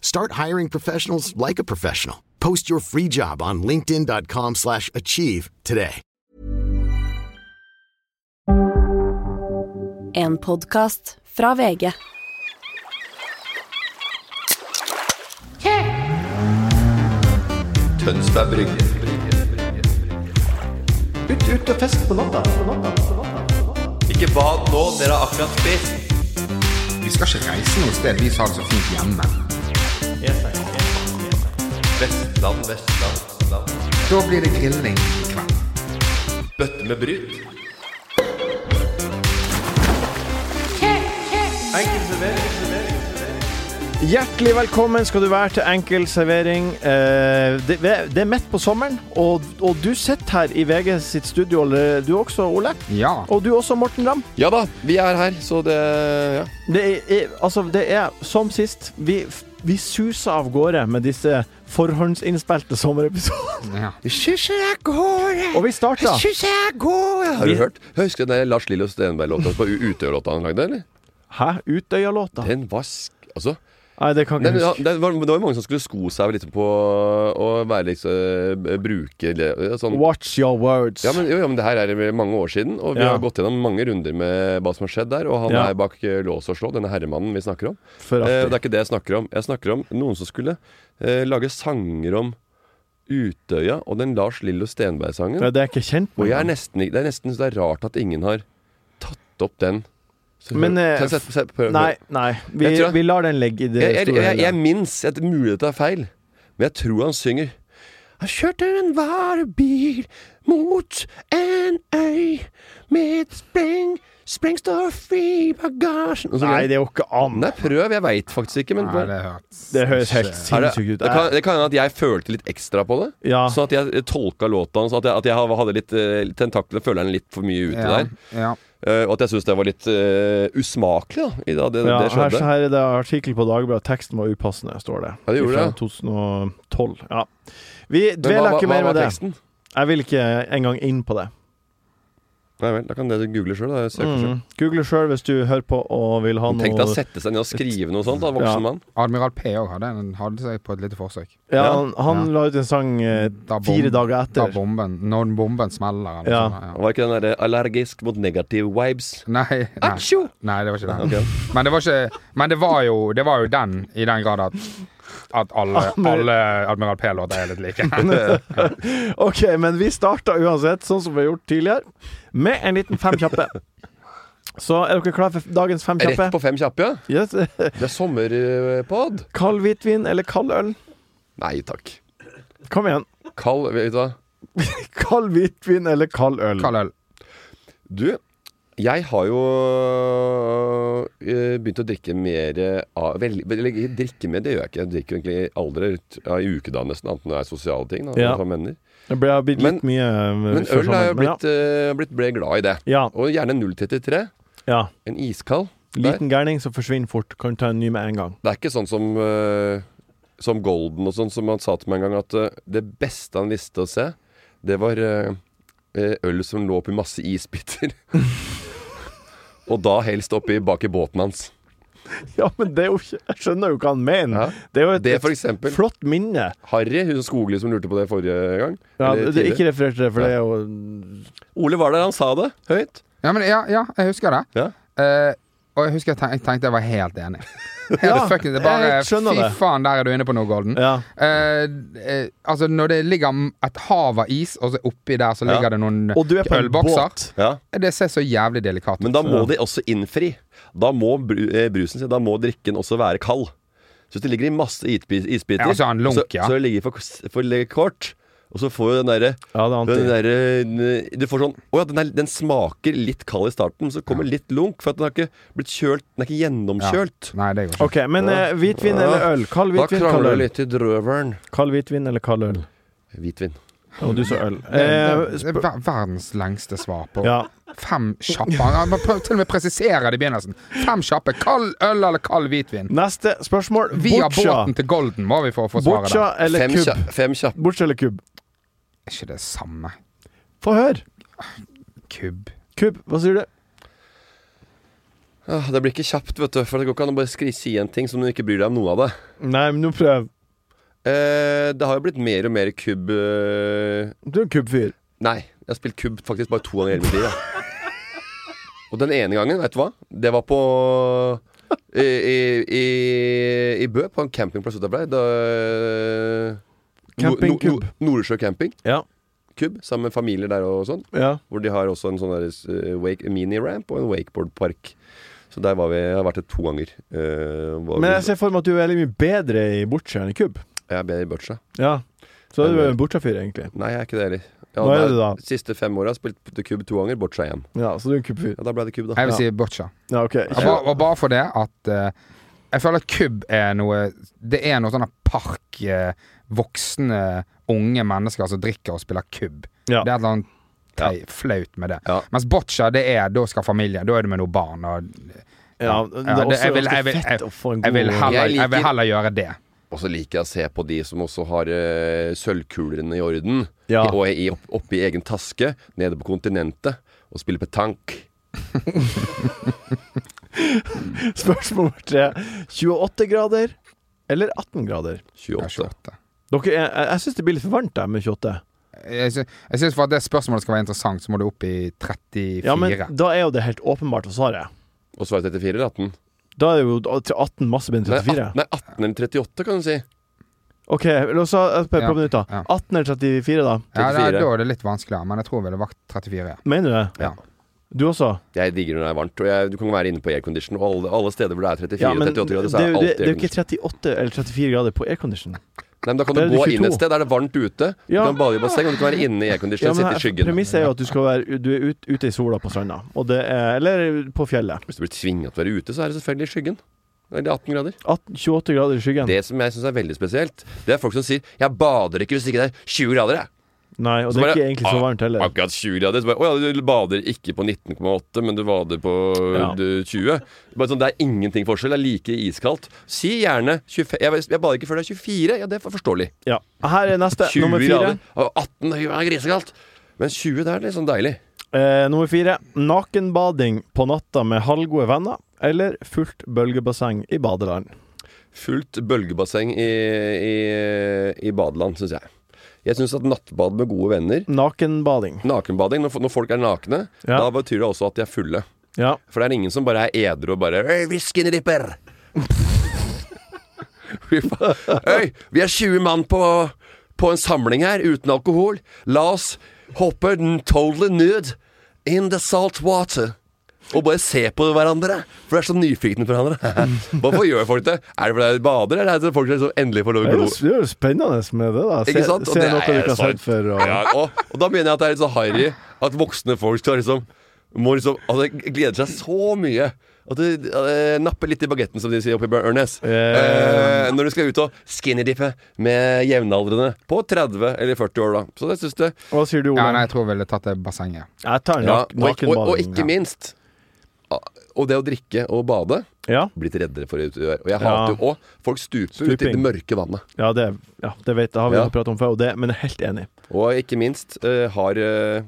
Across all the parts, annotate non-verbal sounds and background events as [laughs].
Start hiring professionals like a professional. Post your free job on linkedin.com/achieve slash achieve today. En podkast fra VG. Tønsberg Brygge. Ut, ut og fest på natta. Ikke bad nå, dere har akkurat spist. Vi skal ikke reise noe sted vi har det så fint hjemme. Vestland, Vestland, Vestland. Da blir det grilling i kveld. Bøtte med bryt. Enkel servering, servering, servering. Hjertelig velkommen skal du være til Enkel servering. Eh, Det, det er midt på sommeren, og, og du sitter her i VG sitt studio, eller du også, Ole? Ja. Og du også, Morten Ramm. Ja da, vi er her, så det ja. Det er, er, altså, det er som sist. Vi, vi suser av gårde med disse forhåndsinnspilte sommerepisodene. ja. Kysse jeg går, Og vi starta jeg går Har du Vi- hørt? Husker du den der Lars Lillo Stenberg-låta på U- Utøya-låta han lagde, eller? Hæ? Utøya-låta? Den var sk... Altså. Nei, det kan Den, jeg ja, ikke huske. den var, det var jo mange som skulle sko seg litt på å være liksom eh, Bruke le- sånn Watch your words. Ja men, jo, ja, men det her er vel mange år siden, og vi Ja. har gått gjennom mange runder med hva som har skjedd der. Og han Ja. er bak eh, lås og slå, denne herremannen vi snakker om. Eh, For alltid. det er ikke det jeg snakker om. Jeg snakker om noen som skulle eh, lage sanger om Utøya og den Lars Lillo Stenberg-sangen. Nei, det er jeg ikke kjent Og med. jeg er nesten, ikke- det er nesten så det er rart at ingen har tatt opp den. Så hør- Men, eh, se- se- se- prøv- Nei, nei. Vi, Jeg tror- vi lar den ligge i det jeg, jeg, store jeg, jeg hele. minnes at mulig det er feil, men jeg tror han synger Jeg kjørte en varebil mot en øy med spreng, sprengstoff i bagasjen Og så- Nei, det er jo ikke an. Nei, prøv. Jeg veit faktisk ikke, men Nei, det hørtes Det høres helt Er det, sinnssykt ut. det, kan, det kan hende at jeg følte litt ekstra på det. Ja. Sånn at jeg tolka låta hans, at jeg, at jeg hadde litt eh, tentakler, føleren litt for mye ute ja, der. ja. Eh, og at jeg syns det var litt eh, usmakelig, da. I da det, Ja, det her, skjedde. her er det artikkel på Dagbladet. Teksten var upassende, står det. Ja, det gjorde Fra det. 2012. Ja. Vi Men hva, dveler hva, hva ikke mer var med det. teksten? Jeg vil ikke engang inn på det. Nei vel, da kan dere google sjøl. Mm. Google sjøl hvis du hører på og vil ha Tenk deg å noe sette seg ned og skrive noe sånt, da, voksen Ja. mann. Admiral P òg hadde en. Han hadde seg på et lite forsøk. ja, Han, han Ja. la ut en sang eh, Da bom- fire dager Da etter. bomben Når bomben smeller, eller sånn, Ja. noe sånt. Han var ikke den derre allergisk mot negative vibes. Ja. Nei, nei. Atsjo! nei, det var ikke den. Ok. Men det var, ikke, men det var, jo, det var jo den, i den grad at at alle, Admiral- alle Admiral P-låter er litt [laughs] like. OK, men vi starta uansett, sånn som vi har gjort tidligere, med en liten fem kjappe. Så er dere klare for dagens fem Rett kjappe? på fem kjappe, ja. Yes. Det er sommerpod. Kald hvitvin eller kald øl? Nei takk. Kom igjen. [laughs] Kald Vet du hva? Kald hvitvin eller kald øl? Kall øl. Du, jeg har jo eh, begynt å drikke mer eh, av vel, vel, eller Drikke mer, det gjør jeg ikke. Jeg drikker jo egentlig aldri ut- ja, i ukedagene nesten, annet enn det er sosiale ting. Da, Ja. fra venner. Det ble har blitt litt Men- mye eh, Men sånn øl har jeg blitt, eh, blitt ble glad i det. ja. Og gjerne 033. ja, ja. En iskald. Der. Liten gærning som forsvinner fort. Kan ta en ny med en gang. Det er ikke sånn som eh, Som Golden og sånn, som han sa til meg en gang, at eh, det beste han visste å se, det var eh, eh, øl som lå oppi masse isbiter. [laughs] og da helst oppi bak i båten hans. Ja, men det er jo ikke Jeg skjønner jo hva han mener. Ja. Det er jo et, Det, for et eksempel. flott minne. Harry, hun Skogli som lurte på det forrige gang. Ja, eller det er tidligere. ikke referert til det, for det er jo Ole var der, han sa det høyt. Ja, men ja, ja jeg husker det. Ja. Eh, Og jeg husker jeg tenkte, jeg tenkte jeg var helt enig. Helt Ja, fucking, det er bare, jeg skjønner Fy det. faen, der er du inne på noe, Golden. Ja. Eh, eh, altså, når det ligger et hav av is, og så oppi der så Ja. ligger det noen Og du er på en ølbokser Eh, båt. Ja. Det ser så jævlig delikat ut. Men da må de også innfri. Da må bru- eh, brusen sin, da må drikken også være kald. Så hvis det ligger i masse isbi- isbiter, Ja, og så har han lunk, så, ja. så det ligger for, for le- kort. Og så får du den derre Ja, det er anti. den derre- n- Du får sånn Å ja, den, er, den smaker litt kald i starten, så kommer litt lunk, for at den har ikke blitt kjølt Den er ikke gjennomkjølt. Nei, det går ikke. OK, men eh, hvitvin eller øl? Kald Da hvitvin, kald krangler du øl. litt i drøvelen. Kald hvitvin eller kald øl? Hvitvin. Og du sa øl. Det, Eh, det, det er ver- verdens lengste svar på ja. fem kjappe. Han har prøvd til og med å presisere det i begynnelsen. Fem kjappe. Kald øl eller kald hvitvin? Neste spørsmål. Via Boccia. båten til Golden må vi få få svaret Boccia der. eller Fem, kubb? kja- fem kjappe. Boccia eller kubb? Er ikke det samme? Få høre. Kubb. Kubb, hva sier du? Ah, Det blir ikke kjapt, vet du. For det går ikke an å bare skri si en ting som du ikke bryr deg om noe av det. Nei, men nå prøv. Eh, det har jo blitt mer og mer kubb eh, Du er en kubbfyr. Nei, jeg har spilt kubb faktisk bare to ganger i hele mitt liv. da. Og den ene gangen, vet du hva? Det var på I, i, i, i Bø, på en campingplass utenfor der. da- Camping Nor- kubb. Nor- Nordsjø camping. Ja. Kubb, sammen med familier der og sånn. Ja. Hvor de har også en sånn der, eh, wake, mini-ramp og en wakeboardpark. Så der var vi, jeg har vært det to ganger. Eh, var Men vi- jeg ser for meg at du er veldig mye bedre i boccia enn i kubb. Jeg er bedre i boccia. Ja. Så er du en boccia-fyr, egentlig. Nei, jeg er ikke det heller. Jeg Hva er hadde- det da? Siste fem åra har jeg spilt til kubb to ganger, boccia igjen. Ja, så du er en kubbfyr. Ja, da ble det kubb, da. Jeg vil si boccia. Ja, OK. Og bare, og bare for det at eh, Jeg føler at kubb er noe Det er noe sånn at park eh, Voksne, unge mennesker som drikker og spiller kubb. Ja. Det er et eller annet tei, flaut med det. Ja. Mens boccia, det er da skal familien Da er du med noen barn. Og, Ja, det er det- også jeg vil- jeg ganske vil- fett å få en jeg, vil god heller, Jeg jeg, liker- vil heller gjøre det. Og så liker jeg å se på de som også har eh, sølvkulene i orden. Ja. I, og i, opp, oppi egen taske, nede på kontinentet, og spiller petank. Spørsmål nummer tre. 28 grader eller 18 grader? 28. Jeg er 28. Dere, jeg jeg syns det blir litt for varmt der med 28. Jeg sy- jeg syns for at det spørsmålet skal være interessant, så må du opp i 34. Ja, men da er jo det helt åpenbart å svare. Og så er det 34 eller 18? Da er det jo til 18 masse bedre enn Nei, 34. 18, nei, 18 eller 38, kan du si. OK, la oss ha et par Ja, minutter. ja. 18 eller 34, da? ja, da, 34. da er det litt vanskeligere, men jeg tror jeg ville valgt 34. Ja. Mener du det? Ja. Du også? Jeg digger når det er varmt. Og jeg, du kan være inne på aircondition, og alle, alle steder hvor det er 34 Ja, men 38 grader, så det er jo- alltid det, det er jo ikke aircondition. 38 eller 34 grader på aircondition. Nei, men Da kan det du er gå 22. inn et sted der det er varmt ute. Ja. Du kan bade i basseng, og du kan være inne i aircondition Ja, og men altså, sitte i skyggen. Premisset er jo at du skal være du er ut, ute i sola på stranda, og det er, eller på fjellet. Hvis du blir tvinga til å være ute, så er det selvfølgelig i skyggen. Eller 18 grader. 18, 28 grader i skyggen. Det som jeg syns er veldig spesielt, det er folk som sier 'jeg bader ikke hvis ikke det er 20 grader', jeg. Nei, og Så det er bare, ikke egentlig ah, så varmt heller. Akkurat 20 grader. Så bare, å ja, du bader ikke på 19,8, men du bader på Ja. du, 20. Bare sånn, det er ingenting forskjell. Det er like iskaldt. Si gjerne 25 Jeg, jeg bader ikke før det er 24. Ja, det er forståelig. Ja. Her er neste, 20 nummer fire. grader. Og 18 det er grisekaldt. Men 20 det er litt sånn deilig. Eh, nummer fire. Nakenbading på natta med halvgode venner, eller fullt bølgebasseng i badeland. Fullt bølgebasseng i, i, i badeland, syns jeg. Jeg syns at nattbad med gode venner Nakenbading. Nakenbading, når, fo- når folk er nakne, Ja. da betyr det også at de er fulle. Ja. For det er ingen som bare er edru og bare Øy, whiskyen ripper! [laughs] Fy faen. Øy, vi er 20 mann på, på en samling her, uten alkohol. La oss hoppe n- totally nude in the salt water. Og bare se på hverandre, for det er så nyfikne på hverandre. [laughs] Hvorfor gjør folk det? Er det fordi de bader, eller er det folk som endelig får lov Det å er jo glo? det er jo spennende med det, da. Se, Ikke sant? Og se det noe er du ikke har sant. sett før. Og... Ja, og, og da mener jeg at det er litt så harry at voksne folk skal liksom må liksom Altså, jeg gleder seg så mye. At du eh, napper litt i bagetten, som de sier oppe i Ørnes. Eh. Eh, når du skal ut og skinnydippe med jevnaldrende på 30 eller 40 år, da. Så det syns jeg. Hva sier du, Ja, nei, Ola? jeg tror jeg ville tatt det bassenget. jeg tar Ja, nak og, og, og nakenbading. ikke minst ah, Og det å drikke og bade Ja. blitt reddere for det ute der. Og jeg Ja. hater jo òg folk stuper ute i det Stuping. mørke vannet. Ja, det, ja, det vet jeg, har vi Ja. jo pratet om før, og det, men jeg er helt enig. Og ikke minst eh, har eh,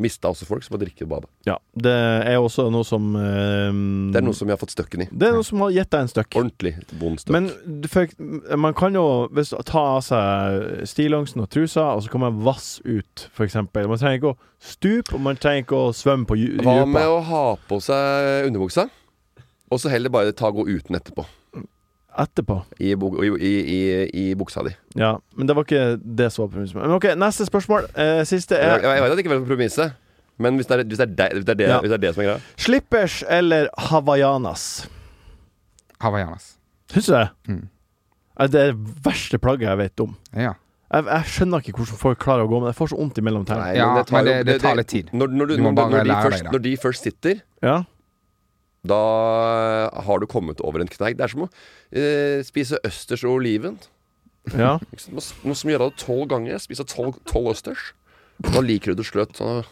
mista også folk som har drikket og badet. Ja, det er også noe som eh, Det Mm. er noe som jeg har fått støkken i. det er noe som har gitt deg en støkk. Ordentlig vond støkk. Men du fikk- man kan jo hvis, ta av seg stillongsen og trusa, og så kan man vasse ut, f.eks. Man trenger ikke å stupe, og man trenger ikke å svømme på dju- Hva med dypet. å ha på seg underbuksa? Og så heller bare ta gå uten etterpå. etterpå. I, bu- i, i, i, i buksa di. Ja, men det var ikke det som var premisset. Men ok, neste spørsmål. Eh, siste Jeg, er jeg vet at det ikke er kompromisset, men hvis det er, hvis det, er deg- hvis det, er det, Ja. hvis det er det som er greia slippers eller hawaiianas? Hawaiianas. Syns du det? Mm. Eh, Det er det verste plagget jeg vet om. Ja. Jeg, jeg skjønner ikke hvordan folk klarer å gå med det. Jeg får så vondt imellom tærne. Nei, Ja, tar men jo- det- det tar litt tid. Når, når, du, Du må når, bare når, de lære deg først, det. når de først sitter, Ja. da har du kommet over en kneik. Det er som å eh, spise østers og oliven. ja. [laughs] Ikke sant? Må s- Noe som gjør det tolv ganger. Spise tolv, tolv østers. Da liker du det sløtt. sånn,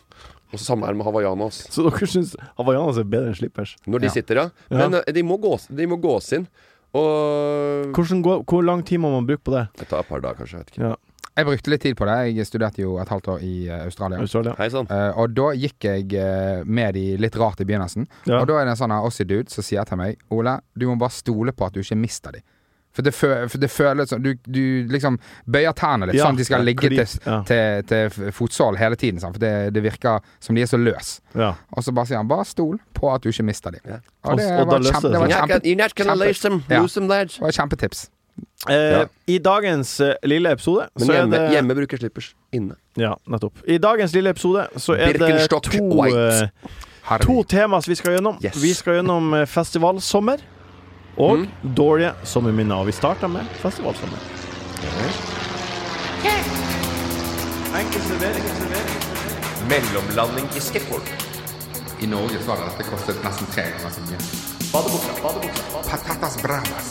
Og så samme her med hawaiianas. Så dere syns hawaiianas er bedre enn slippers? Når de Ja. sitter, ja. Men eh, de må gås, de må gås inn. Og Hvordan går, hvor lang tid må man bruke på det? Det tar et par dager, kanskje. Jeg vet ikke. Ja, Jeg brukte litt tid på det. Jeg studerte jo et halvt år i eh, Australia. Australia. Hei sånn. sann. Eh, og da gikk jeg eh, med de litt rart i begynnelsen. Ja. Og da er det en sånn her Aussie-dude som sier til meg Ole, du må bare stole på at du ikke mister de. For det, fø for det føles som du, du liksom bøyer tærne litt, Ja, sånn at de skal ja, ligge til, klyp, ja. til, til fotsålen hele tiden. sant? For det, det virker som de er så løs. Ja. Og så bare sier han bare stol på at du ikke mister de. Og det Og- og da var løste kjempe- det det You're not var seg. kjempe- gonna- you're not gonna kjempe- lose them, Ja. lose them lads. det var et kjempetips. Eh, Ja. I dagens eh, lille episode Men så er hjemme, det hjemme bruker slippers inne. Ja, nettopp. I dagens lille episode så er det Birkenstock to White. eh, Herregud. To tema som vi skal gjennom. Yes. Vi skal gjennom eh, festivalsommer og Mm. dårlige sommerminner. Og vi starter med festivalsommer. Mellomlanding i skateboard. I Norge så hadde dette kostet nesten tre ganger så mye. Patatas bravas.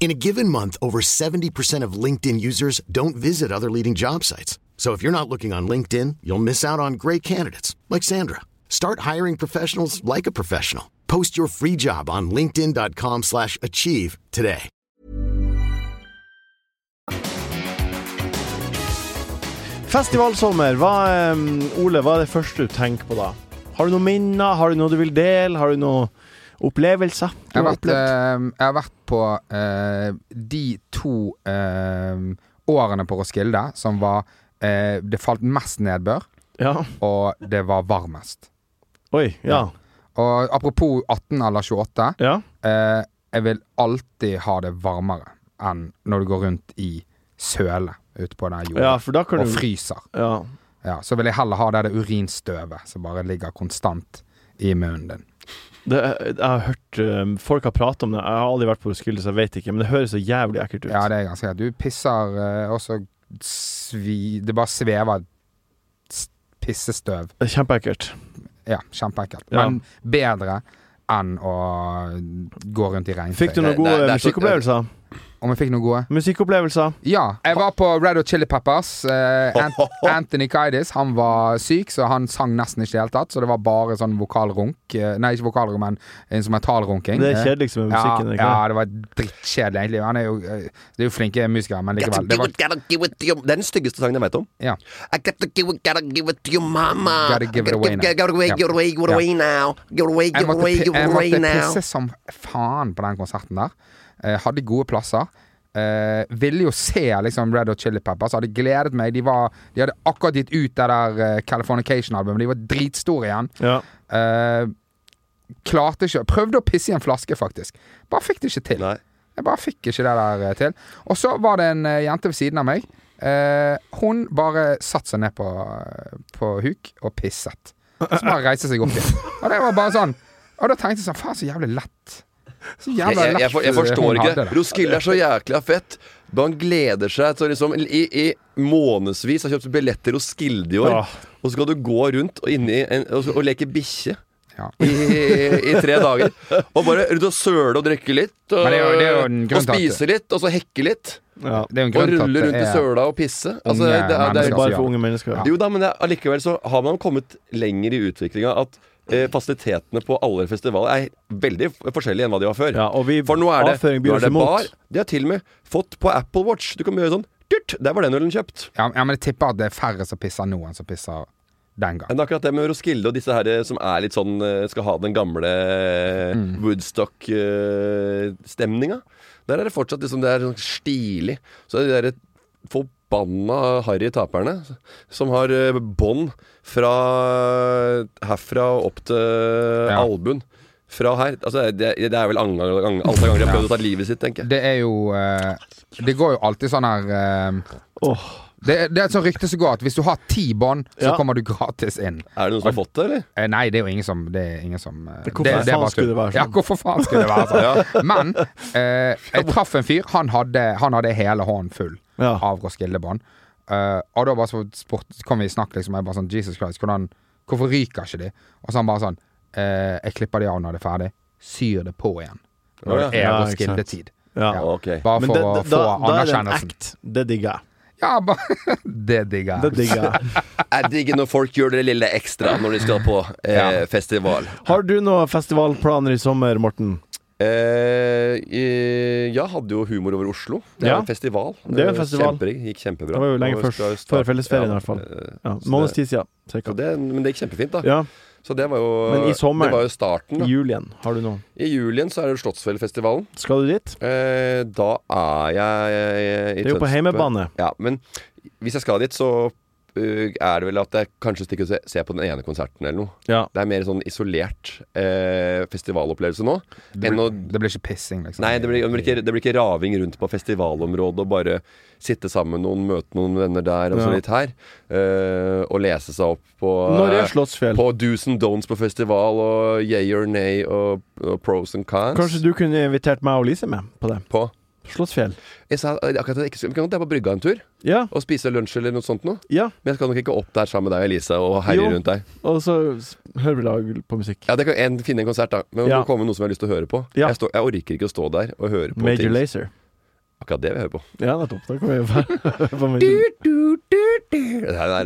In a given month, over 70% of LinkedIn users don't visit other leading job sites. So if you're not looking on LinkedIn, you'll miss out on great candidates like Sandra. Start hiring professionals like a professional. Post your free job on linkedin.com/achieve slash achieve today. Festivalsommer. Hva, eh, Ole, hva er det første du tenker på da? Har du noen minner? Har du noe du vil dele? Har du noen opplevelser? Du Jeg har, har vært, opplevd? eh, jeg har vært på eh, de to eh, årene på Roskilde som var eh, Det falt mest nedbør, Ja. og det var varmest. Oi. Ja. Og apropos 18 eller 28. Ja. eh, jeg vil alltid ha det varmere enn når du går rundt i søle ute på den jorda ja, for da kan og du fryser. ja. Ja, så vil jeg heller ha det der urinstøvet som bare ligger konstant i munnen din. det, Jeg har hørt eh, folk har pratet om det. Jeg har aldri vært på Roskilde, så jeg vet ikke. Men det høres så jævlig ekkelt ut. Ja, det er ganske greit. Du pisser, eh, og så svi... Det bare svever s- pissestøv. det er kjempeekkelt. Ja, kjempeekkelt. Ja. Men bedre enn å gå rundt i regntøy. Fikk du noen Det- det- gode det er så- musikkopplevelser? Om jeg fikk noe gode? Musikkopplevelser? Ja. Jeg var på Red Hot Chili Peppers. Eh, [laughs] Ant Anthony Kiedis han var syk, så han sang nesten ikke i det hele tatt. Så det var bare sånn vokalrunk. Eh, Nei, ikke vokalrunk, men instrumentalrunking. Det Eh, er kjedeligst med Ja, musikken. ikke ja, det var drittkjedelig, egentlig. Han er jo, eh, det er jo flinke musikere, men likevel. Det var Det er den styggeste sangen jeg veit om. Ja. I got to give it, gotta give it to your mama. Gotta give it away now. Gotta give it away, Ja. give it away, give it Ja. away now. Give it away, Jeg give it måtte, away, pi- give it jeg away måtte now. pisse som faen på den konserten der. Eh, hadde gode plasser. Eh, ville jo se liksom Red Hot Chili Peppers. Hadde gledet meg. De, var, de hadde akkurat gitt ut det der eh, Californication-albumet. De var dritstore igjen. Ja. Eh, klarte ikke Prøvde å pisse i en flaske, faktisk. Bare fikk det ikke til. Nei. Jeg bare fikk ikke det der eh, til. Og så var det en eh, jente ved siden av meg. Eh, hun bare satte seg ned eh, på, på huk og pisset. Så bare reiste seg opp igjen. Og det var bare sånn Og da tenkte jeg sånn Faen, så jævlig lett. Så Jeg, jævla eh, jeg, jeg, for, jeg hun forstår hadde ikke. det. Roskilde er så jækla fett. Man gleder seg til å liksom i, I månedsvis har kjøpt billett til Roskilde i år, Åh. og så skal du gå rundt og, inni en, og, og leke bikkje. Ja. I, I tre dager. Og bare rundt og søle og drikke litt. Og, Men det er jo- det er jo en grunn og til at- spise litt, og så hekke litt. Ja. Det er jo en Og grunn til at rulle det rundt i er- søla og pisse. Altså, Unge det, er, det Det er er mennesker. bare for unge mennesker. Jo da, men det er, allikevel så har man kommet lenger i utviklinga at eh, fasilitetene på alle festivaler er veldig f- forskjellige enn hva de var før. Ja, og vi For nå er det, avføring nå byr er oss det bar. imot. De har til og med fått på Apple Watch. Du kan gjøre sånn dyrt, Der var den ølen kjøpt. Ja, ja, men jeg tipper at det er færre som pisser nå enn som pisser den gang. Men akkurat det med Roskilde og disse her eh, som er litt sånn eh, skal ha den gamle eh, Mm. Woodstock-stemninga. Der er det fortsatt liksom det er sånn stilig. Så er det de der forbanna harry taperne som har eh, bånd fra herfra og opp til Ja. albuen. Fra her Altså, det, det er vel andre ganger alle ganger de har prøvd å ta livet sitt, tenker jeg. Det er jo eh, Det går jo alltid sånn her eh, Åh. det, det er et sånt rykte som går at hvis du har ti bånd, så Ja. kommer du gratis inn. Er det noen som har fått det, eller? Eh, nei, det er jo ingen som Det er ingen som eh, Hvorfor er faen bare skulle tull. det være sånn? Ja, hvorfor faen skulle [laughs] det være sånn? Men eh, jeg traff en fyr. Han hadde, han hadde hele hånden full Ja. av Roskilde-bånd. Eh, og da bare så spurt, kom vi i snakk, liksom. Jeg bare sånn Jesus Christ, hvordan, hvorfor ryker ikke de? Og så han bare sånn eh, Jeg klipper de av når det er ferdig. Syr det på igjen. Når det er Ja, ikke sant. Roskilde-tid. Ja. Ja. Ok. Bare Men for det, å da, få da er det en anerkjennelsen. act. Det digger jeg. Ja, bare [laughs] Det digger Det jeg. digger [laughs] jeg. Jeg digger når folk gjør det lille ekstra når de skal på eh, Ja. festival. Har du noen festivalplaner i sommer, Morten? Eh, eh, jeg hadde jo Humor over Oslo. Det er Ja. jo en festival. Det er jo en Eh, festival. Kjempe, gikk kjempebra. Det var jo lenge Og før- skal starte- før fellesferien i hvert fall. eh, Ja. Så Måneds det- tid siden, så cirka. det, men det gikk kjempefint, da. Ja. Så det var jo Men i sommeren- Det var jo starten. I Da. julien. Har du noe? I julien så er det Slottsfjellfestivalen. Skal du dit? Eh, da er jeg eh, i Det er jo på Tønsberg. heimebane. Ja, men hvis jeg skal dit, så eh, er det vel at jeg kanskje stikker og se, ser på den ene konserten eller noe. Ja. Det er mer sånn isolert eh, festivalopplevelse nå Det enn å blir, det blir ikke pissing, liksom. Nei, det blir, det, blir ikke, det blir ikke raving rundt på festivalområdet og bare sitte sammen med noen, møte noen venner der og så Ja. litt her. eh, og lese seg opp på, eh, Når er Slottsfjell? på do's and don'ts på festival og yay or nay og, og pros and cons. Kanskje du kunne invitert meg og Lise med på det? På. Slottsfjell. Jeg sa eh, akkurat at jeg ikke skulle Vi kan godt dra på brygga en tur Ja. og spise lunsj eller noe sånt noe. ja. Men jeg skal nok ikke opp der sammen med deg og Elise og herje Jo. rundt deg. Og så s- hører vi lag på musikk. Ja, det kan en, finne en konsert, da. Men det Ja. må komme noe som jeg har lyst til å høre på. Ja. Jeg, står- jeg orker ikke å stå der og høre på Major ting. Lazer. Akkurat det vil jeg høre på. Ja, nettopp. Da kan vi [laughs] høre på Major Liksom. Det her er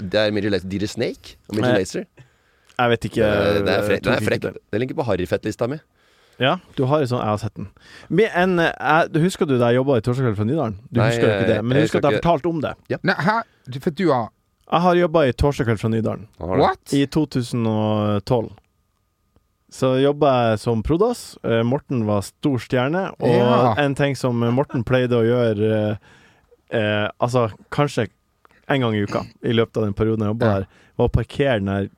Det er Major Lazer Dear Snake og Major Nei, Lazer. Jeg vet ikke. Det er frekk. Den jeg er tok frekk. ikke det. Den ligger på harryfettlista mi. Ja, du har en sånn Jeg har sett den. Med en, eh, jeg, husker du da jeg jobba i Torsdagskvelden fra Nydalen? Du Nei, husker jo ikke det, jeg- men jeg jeg husker at husker jeg fortalte om det. Nei, hæ? For du har Jeg har jobba i Torsdagskveld fra Nydalen. What? I 2012 så jobba jeg som prodas. Eh, Morten var stor stjerne, og Ja. en ting som Morten pleide å gjøre eh, eh, Altså, kanskje en gang i uka i løpet av den perioden jeg jobba Ja. her, var å parkere den der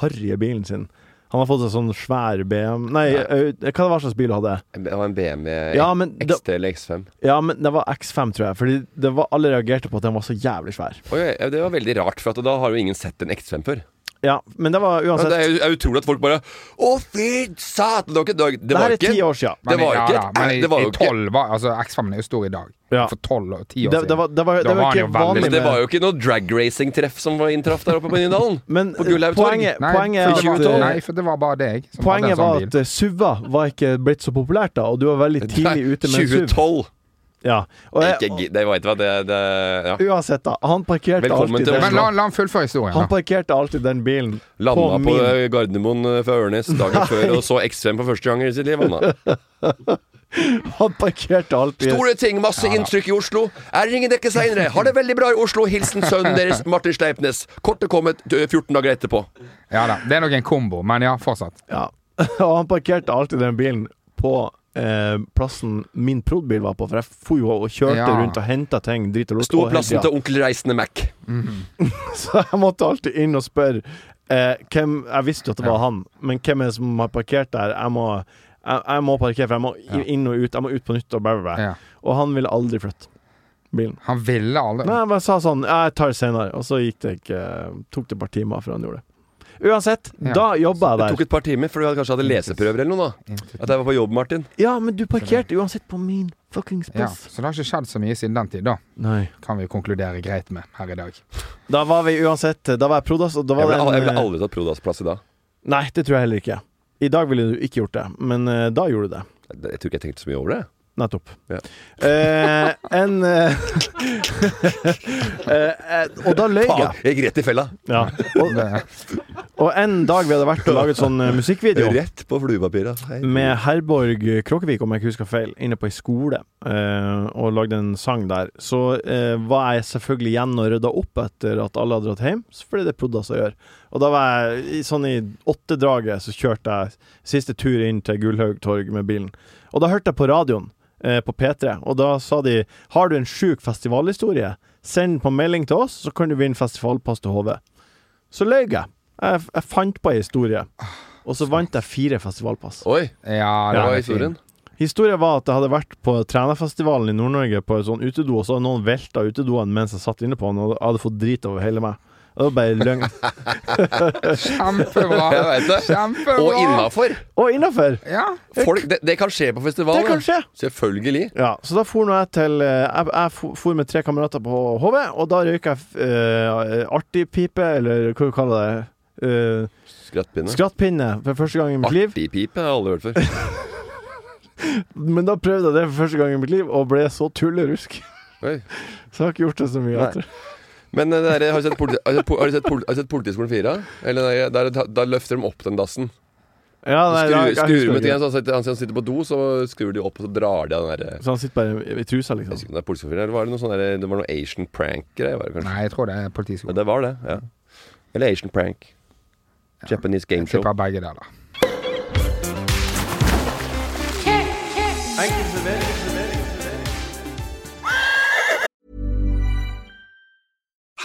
harrige bilen sin. Han har fått seg sånn svær BM Nei, Ja. eh, hva var slags bil han hadde? Det var en BMW Ja, men da- XT eller X5. Ja, men det var X5, tror jeg. Fordi det var, alle reagerte på at den var så jævlig svær. Oi, ja, det var veldig rart, for at da har jo ingen sett en X5 før. Ja, men det var Ja, uansett det er jo- er jo utrolig at folk bare Å, fy satan! Det var ikke- det var- Det det var her er ti ikke år sia. Det var jo ja, ikke- da, Men i, det var jo i ikke- 12 var Altså, X5 er jo stor i dag. Ja. For 12 og 10 år Det, siden. det var, det var, Da det var var han jo ikke veldig- vanlig Men med det var jo ikke noe dragracing-treff som var inntraff der oppe på Nydalen. Men på Gullhaug torg. poenget, Nei, poenget, for det er var, at, nei, for det var bare deg. som hadde en poenget sånn var bil. at eh, SUV-a var ikke blitt så populært da, og du var veldig tidlig ute med en SUV. 2012. Ja. Det Og er jeg, ikke gi- Det vet du hva, det, det ja. uansett, da. Han parkerte Velkommen alltid til den, Men la, la han fullføre historien. han da. parkerte alltid den bilen Landa på, på min eh, Gardermoen eh, fra Ørnes dagen før og så X5 for første gang i sitt liv. Han, [laughs] da. [laughs] Han parkerte alltid Store ting, masse inntrykk i Oslo. Er ingen dekke seinere. Har det veldig bra i Oslo. Hilsen sønnen deres, Martin Sleipnes. Kortet kom et- 14 dager etterpå. Ja da, Det er nok en kombo, men ja, fortsatt. Ja. [laughs] Og han parkerte alltid den bilen på eh, plassen min prod-bil var på, for jeg for jo og kjørte Ja. rundt og henta ting. Drit og lort. Sto og plassen hele til tida. onkel Reisende Mac. Mhm. [laughs] Så jeg måtte alltid inn og spørre eh, hvem Jeg visste jo at det var Ja. han, men hvem er det som har parkert der? Jeg må, jeg, jeg må parkere, for jeg må i- Ja. inn og ut. Jeg må ut på nytt og bæ, bæ, bæ. Ja. Og han ville aldri flytte bilen. Han ville aldri Nei, jeg bare sa sånn Jeg tar det senere. Og så gikk det ikke Tok det et par timer før han gjorde det. Uansett, da jobba jeg Det der. tok et par timer, for du hadde kanskje hatt leseprøver eller noe da. At jeg var på jobb, Martin. Ja, men du parkerte uansett på min fuckings Ja, buss. så det har ikke skjedd så mye siden den tid, da. Nei. Kan vi jo konkludere greit med her i dag. Da var vi uansett Da var jeg prodas, og da Jeg var ville, al- det jeg ville en, eh, aldri tatt Prodas-plass i dag. Nei, det tror jeg heller ikke. I dag ville du ikke gjort det, men eh, da gjorde du det. Jeg, jeg tror ikke jeg tenkte så mye over det. Nettopp. Ja. Eh, en eh, [laughs] eh, eh, Og da løy jeg. Faen, jeg gikk rett i fella. Ja. Og, og en dag vi hadde vært og laget sånn eh, musikkvideo Rett på fluepapiret. Hei. med Herborg Kråkevik, om jeg ikke husker feil, inne på ei skole, eh, og lagde en sang der, så eh, var jeg selvfølgelig igjen og rydda opp etter at alle hadde dratt hjem, fordi det er Prodas å gjøre. Og da var jeg i- sånn i åttedraget, så kjørte jeg siste tur inn til Gullhaug torg med bilen. Og da hørte jeg på radioen eh, på P3, og da sa de Har du en sjuk festivalhistorie? Send den på melding til oss, så kan du vinne festivalpass til HV. Så løy jeg. Jeg, jeg fant på ei historie, og så vant jeg fire festivalpass. Oi, Ja, det hva var var jo fint. historien? Historien var at jeg hadde vært på trenerfestivalen i Nord-Norge på en sånn utedo, og så hadde noen velta utedoen mens jeg satt inne på den, og jeg hadde fått drit over hele meg. Og Det var bare løgn. Kjempebra! [laughs] Jeg vet det. Kjempebra! Og innafor! Og innafor! Ja. Folk- Det, det kan skje på festival. Det kan skje. Selvfølgelig. Ja, så da for nå jeg til eh, Jeg, jeg for- for med tre kamerater på HV, og da røyka jeg uh, artig pipe, eller hva du kaller det? Eh, Skrattpinne. skrattpinne for første gang i mitt liv. Artig pipe har jeg aldri [laughs] hørt før. Men da prøvde jeg det for første gang i mitt liv, og ble så tullerusk. [laughs] Oi. Så jeg har ikke gjort det så mye. Nei. etter. Men eh, det der, har du sett, politi, har du sett, po- har du sett, pol- har du sett Politiskolen 4? Eller nei, der, der, der løfter de opp den dassen. Ja, nei, Skru, jeg- jeg skrur husker de ut ikke. igjen, så altså, han sitter, han sitter på do, så skrur de opp, og så drar de av den der eh, Så han sitter bare i- i trusa, jeg liksom. husker ikke om det er Politiskolen 4, eller var det noe sånn der, det var noe Asian prank-greie? var det kanskje? Nei, jeg tror det er Ja, politiskolen. det var det, ja. Eller Asian prank. Japanese game Jeg show. tipper begge der, da.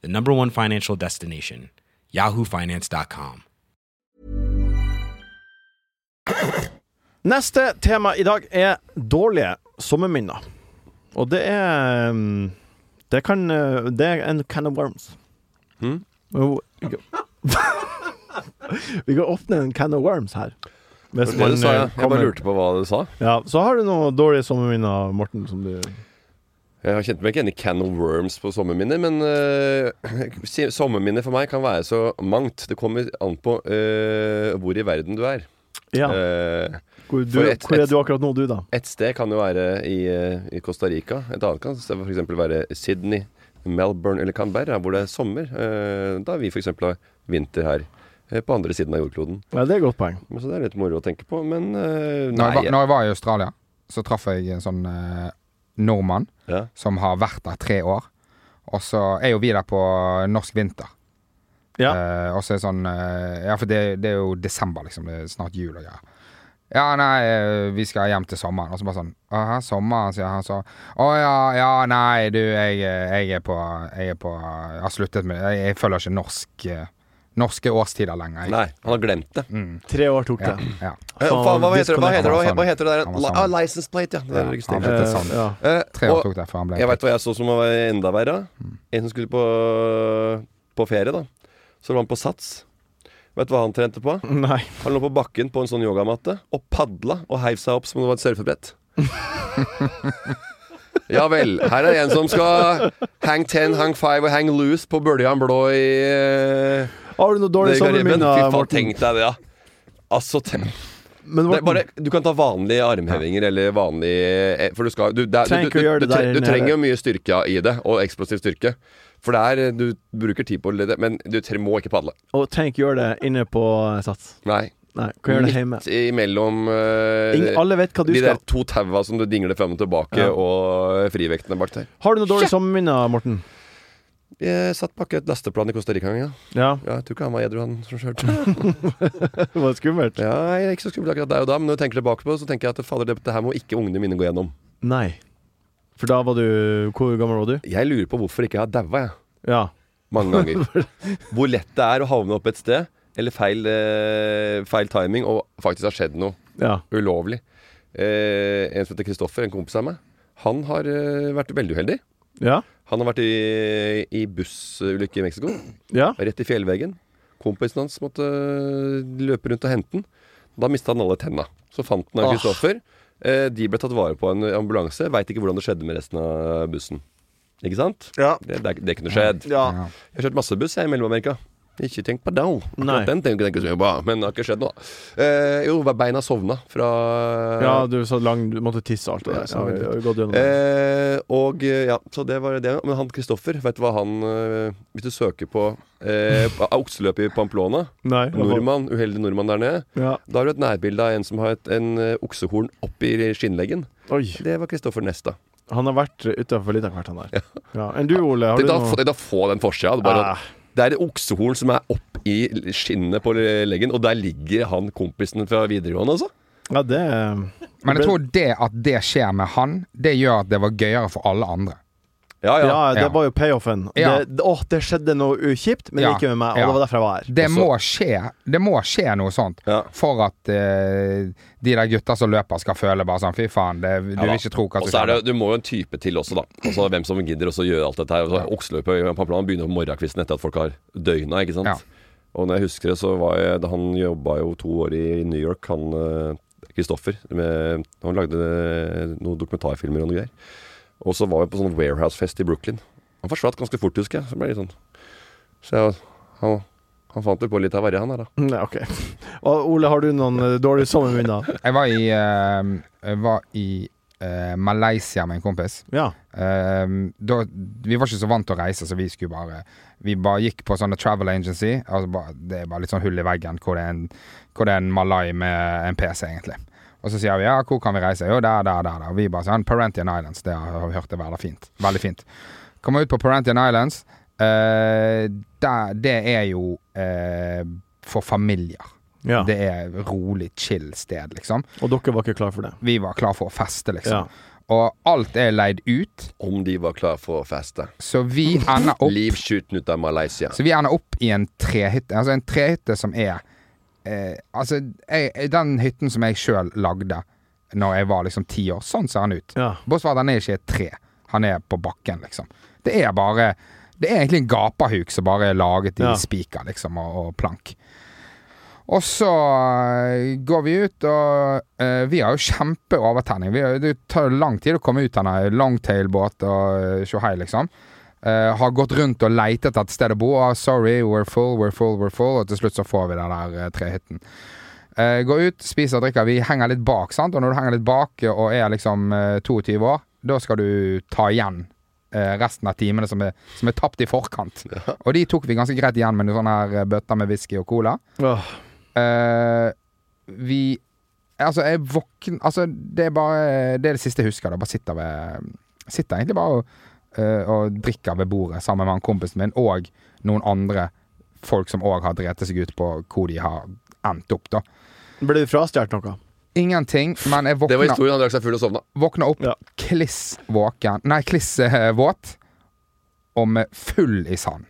the number one financial destination, yahoofinance.com. Neste tema i dag er dårlige sommerminner. Og det er um, Det kan uh, Det er en can of worms. Hmm? Jo, vi kan- [laughs] Vi kan åpne en can of worms her. Hvis Det var det du sa, ja. Jeg uh, kommer- bare lurte på hva du sa. Ja, så har du noen dårlige sommerminner, Morten, som du Jeg har kjent meg ikke igjen i Can of Worms på sommerminner, men øh, [clears throat] si- sommerminner for meg kan være så mangt. Det kommer an på øh, hvor i verden du er. Ja. Eh, Hvor, du, for et- hvor er et- du akkurat nå, du, da? et sted kan jo være i, øh, i Costa Rica. Et annet kan f.eks. være Sydney, Melbourne eller Canberra, hvor det er sommer. Eh, da vi f.eks. har vinter her. eh, På andre siden av jordkloden. Ja, det er et godt poeng. Men Så det er litt moro å tenke på. Men eh, Når jeg, nei. var, når jeg var i Australia, så traff jeg en sånn eh, nordmann Ja. som har vært der tre år. Og så er jo vi der på norsk vinter. Ja. Eh, og så er det sånn eh, Ja, for det, det er jo desember, liksom. Det er snart jul og greier. Ja, nei, eh, vi skal hjem til sommeren. Og så bare sånn Å, hæ, sommeren, sier han så. Å ja, ja, nei, du, jeg, eh, jeg er på Jeg er på Jeg har sluttet med Jeg, jeg følger ikke norsk eh, norske årstider lenger. Jeg. nei, han har glemt det. Tre år tok det. Ja, ja. Eh, faen, hva, heter det? hva heter det? Hva- Han var Hva heter det der? sammen. Li- ah, license plate, ja. Det er Ja, registrert. han ble Eh, sant. ja. Eh, Tre år og- tok det før han ble Jeg veit hva jeg så som var enda verre. En som skulle på, på ferie, da. Så var han på Sats. Vet du hva han trente på? [laughs] Nei. Han lå på bakken på en sånn yogamatte og padla og heiv seg opp som om det var et surfebrett. ja vel. Her er en som skal hang ten, hang five og hang loose på bølja blå i eh, Har du noe Det dårlig kan jeg- men sommerminner, Fy faen, Morten? tenk deg det, ja. Altså, tenk Men det er Morten- bare, du kan ta vanlige armhevinger eller vanlig eh, For du skal du, det er- du, Trenger ikke å gjøre du, du, det der tre- du nede. trenger jo mye styrke i det, og eksplosiv styrke. For det er eh, Du bruker tid på å lede, men du tre, må ikke padle. Og trenger ikke gjøre det inne på eh, Sats. Nei. Nei, kan gjøre det hjemme. Midt imellom eh, Ingen- alle vet hva du de skal. der to taua som du dingler frem og tilbake, Ja. og eh, frivektene bak der. Har du noe dårlig sommerminner, Morten? Jeg satt bak et lasteplan i Costa Rica en gang. Ja. Ja, jeg tror ikke han var edru, han som kjørte. [laughs] Det var skummelt. Ja, jeg er ikke så skummel akkurat der og da, men når jeg tenker tilbake på det, så tenker jeg at fader, det, det her må ikke ungene mine gå gjennom. Nei. For da var du Hvor gammel var du? Jeg lurer på hvorfor ikke jeg har daua, jeg. Ja. Mange ganger. Hvor lett det er å havne opp et sted, eller feil, eh, feil timing, og faktisk har skjedd noe Ja. ulovlig. Eh, en som heter Kristoffer, en kompis av meg, han har eh, vært veldig uheldig. Ja. Han har vært i, i bussulykke i Mexico. Ja. Rett i fjellveggen. Kompisen hans måtte eh, løpe rundt og hente den. Da mista han alle tenna. Så fant han Ah. av Kristoffer. Eh, de ble tatt vare på av en ambulanse. Veit ikke hvordan det skjedde med resten av bussen. Ikke sant? Det, det, det kunne skjedd. Ja. Jeg har kjørt masse buss jeg, i Mellom-Amerika. Ikke tenk på det. Nei. Akkurat den tenker jeg ikke så mye på, men det har ikke skjedd noe. Eh, jo, beina sovna fra ja, du sa lang Du måtte tisse og alt det der. Så vi har gått gjennom det. Eh, og eh, ja, så det var det. Men han Kristoffer, vet du hva han eh, Hvis du søker på eh, [laughs] på okseløpet i Pamplona Nei, hva- Nordmann, uheldig nordmann der nede. Ja. Da har du et nærbilde av en som har et, en eh, oksehorn oppi skinnleggen. Det var Kristoffer Nesta. Han har vært utafor litt av hvert, han der. Ja. Enn du, Ole? Har Tenk deg du å få- noe tenk deg å få den forsida. Det, er bare- Ah. det er et oksehorn som er oppi skinnet på leggen, og der ligger han kompisen fra videregående, altså. Ja, det eh, Men jeg tror det at det skjer med han, det gjør at det var gøyere for alle andre. Ja, ja. ja. det Ja. var jo payoffen. Ja. Det, det- åh, det skjedde noe ukjipt, men Ja, ikke med meg. Og ja. det var derfor jeg var her. Det Altså- Også- må skje Det må skje noe sånt for at eh, de der gutta som løper, skal føle bare sånn Fy faen, det, du Ja da. vil ikke tro hva Og som så er skjer. det, Du må jo en type til også, da. Altså Hvem som gidder også gjøre alt dette her. Altså, Okseløpet i Pamplona begynner på morgenkvisten etter at folk har døgna, ikke sant. Og når jeg husker det, så var jeg da Han jobba jo to år i New York, han eh, Kristoffer. med- Han lagde eh, noen dokumentarfilmer og noe greier. Og så var vi på sånn warehouse-fest i Brooklyn. Han forsvant ganske fort, husker jeg. Så ble jeg litt sånn Så jeg, han, han fant jo på litt av verre, han her, da. Nei, Mm, ok. Og Ole, har du noen eh, dårlige sommerminner? [laughs] Jeg var i, eh, jeg var i eh, Malaysia med en kompis. Ja. Eh, da, vi var ikke så vant til å reise, så vi skulle bare Vi bare gikk på sånne travel agency. Altså bare, det er bare litt sånn hull i veggen hvor det er en, hvor det er en malai med en PC, egentlig. Og så sier vi ja, hvor kan vi reise? Jo, der, der, der. der. Og vi bare sånn Parentian Islands. Det har vi hørt er veldig fint. Veldig fint. Kommer ut på Parentian Islands. eh, der, det er jo eh, for familier. Ja. Det er rolig, chill sted, liksom. Og dere var ikke klar for det? Vi var klar for å feste, liksom. Og alt er leid ut. Om de var klar for å feste. Så vi ender opp Livskuten ut av Malaysia. Så vi ender opp i en trehytte. Altså en trehytte som er eh, Altså, jeg, den hytten som jeg sjøl lagde Når jeg var liksom ti år, sånn ser han ut. Bortsett fra at han er ikke et tre. Han er på bakken, liksom. Det er bare Det er egentlig en gapahuk som bare er laget i Ja. spiker, liksom, og, og plank. Og så eh, går vi ut, og eh, vi har jo kjempeovertenning. Vi har- Det tar jo lang tid å komme ut av en longtailbåt og tjohei, liksom. Eh, har gått rundt og leitet etter et sted å bo. Ah, sorry, we're full, we're full, we're full. Og til slutt så får vi den der eh, trehytten. Eh, går ut, spiser og drikker. Vi henger litt bak, sant. Og når du henger litt bak eh, og er liksom eh, 22 år, da skal du ta igjen eh, resten av timene som er, som er tapt i forkant. Og de tok vi ganske greit igjen med noen sånne her eh, bøtter med whisky og cola. Eh, vi Altså, jeg våkn... Altså, det er bare Det er det siste jeg husker. Da. Bare sitter ved Sitter egentlig bare og, eh, og drikker ved bordet sammen med han kompisen min og noen andre folk som òg har drept seg ut på hvor de har endt opp, da. Ble du frastjålet noe? Ingenting, men jeg våkna Det var historien. Han drakk seg full og sovna. Våkna opp kliss våken Nei, kliss eh, våt og med full i sand.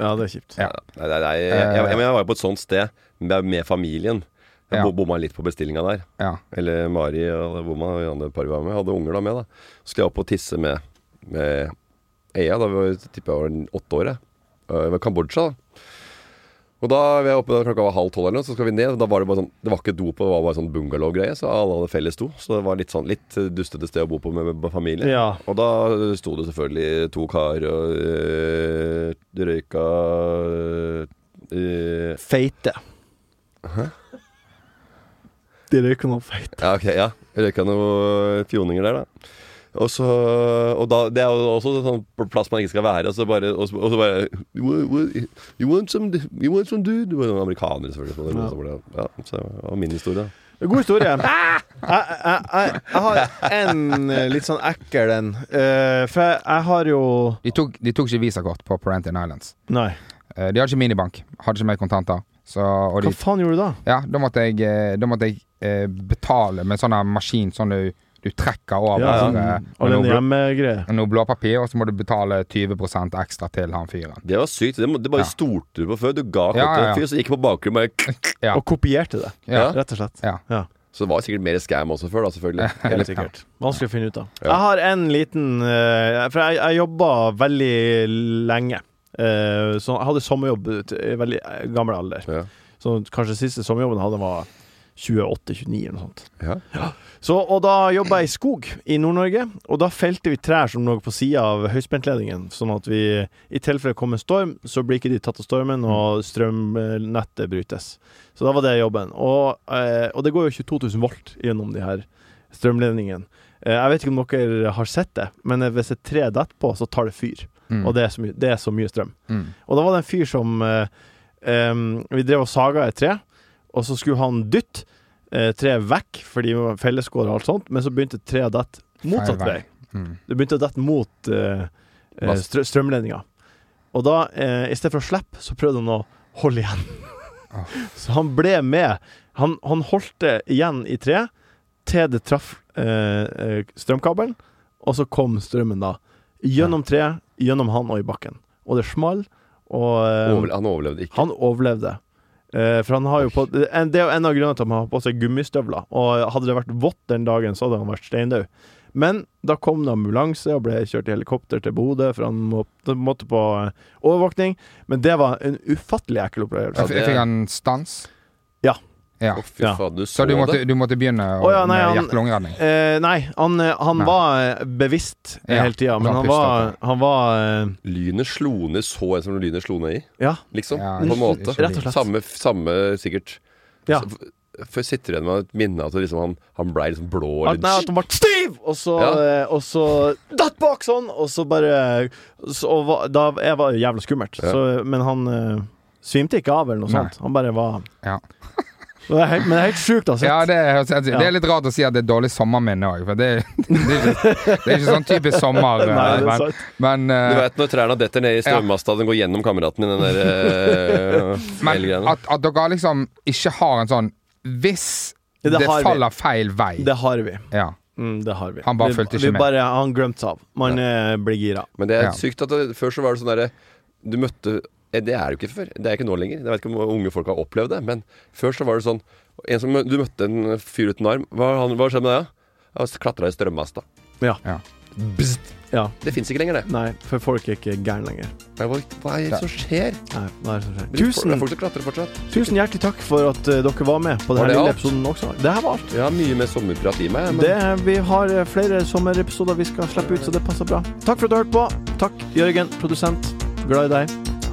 Ja, det er kjipt. Nei, nei, nei. Jeg, jeg, jeg, men jeg var jo på et sånt sted med, med familien. Jeg Ja. bo- bomma litt på bestillinga der. Ja. Eller Mari og bomma, og de andre par vi var med. Hadde unger da med, da. Så skulle jeg opp og tisse med, med Ea, da vi var- tipper jeg var åtte år. jeg. Øh, Det var Kambodsja, da. Og da vi er oppe, da klokka var halv tolv, eller noe, så skal vi ned. Og da var det bare sånn Det var ikke do på, det var bare sånn bungalow-greie, så alle hadde felles do. Så det var litt sånn litt eh, dustete sted å bo på med, med familie. Ja. Og da eh, sto eh, det selvfølgelig to kar og øh, røyka øh, feite. De røyka noe feit. Ja, ok, ja. Røyka noen fjoninger eh, der, da. Og så Og da, det er jo også en sånn plass man ikke skal være. Og så bare, og så, og så bare you, want- you, want some, you want some dude? Det var noen amerikanere, selvfølgelig. Som var Ja. ja. Som ja, så det var min historie. God historie. [laughs] Jeg, jeg, jeg, jeg har en eh, litt sånn ekkel en. Eh, for jeg, jeg har jo De tok, de tok ikke visakort på Parentine Islands. Nei. Eh, De hadde ikke minibank. Hadde ikke mer kontanter. Så, og de, Hva faen gjorde du da? ja, da måtte jeg, eh, da måtte jeg eh, betale med sånn her maskin sånn du, du trekker over. Ja, sånn, sånn eh, med noe Alene blå- hjemme-greie. noe blåpapir, og så må du betale 20 ekstra til han fyren. Det var sykt. Det, må- det bare Ja. stolte du på før. Du ga kortet Ja, til ja, ja. en fyr som gikk på bakrommet og bare [clears throat] Ja. Og kopierte det, Ja. rett og slett. Ja. Ja. Så det var sikkert mer scam også før, da, [laughs] selvfølgelig. Helt sikkert. Vanskelig å finne ut av. Jeg har en liten eh, For jeg, jeg jobba veldig lenge. Eh, så jeg hadde sommerjobb til- i veldig eh, gammel alder. Ja. Så kanskje siste sommerjobben jeg hadde, var 28-29 eller noe sånt. Ja. Så, og da jobba jeg i skog i Nord-Norge, og da felte vi trær som lå på sida av høyspentledningen, sånn at vi i tilfelle det kom en storm, så blir ikke de tatt av stormen, og strømnettet brytes. Så da var det jobben. Og, eh, og det går jo 22 000 volt gjennom de her strømledningene. Eh, jeg vet ikke om dere har sett det, men hvis et tre detter på, så tar det fyr. Mm. Og det er, så mye, det er så mye strøm. Mm. Og da var det en fyr som eh, em, Vi drev og saga et tre, og så skulle han dytte eh, treet vekk, fordi vi var fellesskår og alt sånt, men så begynte treet å dette motsatt Feil vei. vei. Mm. Det begynte å dette mot eh, eh, Mast. strø strømledninga. Og da, eh, i stedet for å slippe, så prøvde han å holde igjen. [laughs] så han ble med. Han, han holdt det igjen i treet til det traff eh, eh, strømkabelen, og så kom strømmen da. Gjennom treet, gjennom han og i bakken. Og det small, og eh, Um, Overle han overlevde ikke. han overlevde. Eh, for han har jo på, en, det er jo en av grunnene til at han har på seg gummistøvler. Og hadde det vært vått den dagen, så hadde han vært steindau. Men da kom det ambulanse og ble kjørt i helikopter til Bodø, for han måtte, måtte på eh, overvåkning. Men det var en ufattelig ekkel Jeg, opplevelse. f- jeg fikk en stans. Ja. ja. Å, fy Ja. faen, du så, Så du måtte, det? du måtte begynne å, Å ja, nei, med han- hjerte-lungeredning? Eh, nei, han, eh, han Nei. var eh, bevisst eh, Ja, hele tida, han men han pustet var, på. han var eh, Lynet slo ned så en som lynet slo ned i, Ja. liksom. Ja, på ikke- en måte. ikke lyd. Samme, samme sikkert. ja. Så f- Før sitter du igjen med et minne av at liksom han, han ble liksom blå At, nei, at han ble stiv! Og så, Ja. eh, og så datt bak sånn, og så bare så, og, va- Da jeg var jævla skummelt. Ja. Så, men han eh, svimte ikke av eller noe Nei. sånt. Han bare var Ja. [laughs] det er helt, Men det er helt sjukt, altså. Ja, det, høres helt sykt. Ja. det er litt rart å si at det er dårlig sommerminne òg, for det, det, er [laughs] ikke, det er ikke sånn typisk sommer. Nei, det er men sant. men, eh, Du veit når trærne detter ned i strømmasta, den går gjennom kameraten din, den [laughs] der uh, men at, at dere liksom ikke har en sånn Hvis Ja, det, det har vi. faller feil vei Det har vi. Ja. Mm, det har vi. Han bare vi, fulgte ikke vi med. Bare, han glemte seg av. Man eh, blir gira. Men det er Ja. sykt at det, før så var det sånn derre Du møtte eh, Det er jo ikke før. Det er ikke nå lenger. Jeg vet ikke om unge folk har opplevd det, men før så var det sånn en som, Du møtte en fyr uten arm. Hva, han, hva skjedde med deg? Jeg klatra i strømmasta. Ja. Ja. Bzzt. ja. Det fins ikke lenger, det. Nei, for folk er ikke gærne lenger. Nei, Hva, hva er det som skjer? Nei, hva er det som skjer? Det Tusen, er folk som klatrer fortsatt. tusen hjertelig takk for at eh, dere var med på Var denne det lille alt? episoden også. Det her var alt. Jeg har mye mer sommerprat i meg. Men Det, vi har eh, flere sommerepisoder vi skal slippe ut, så det passer bra. Takk for at du hørte på. Takk, Jørgen, produsent. Glad i deg.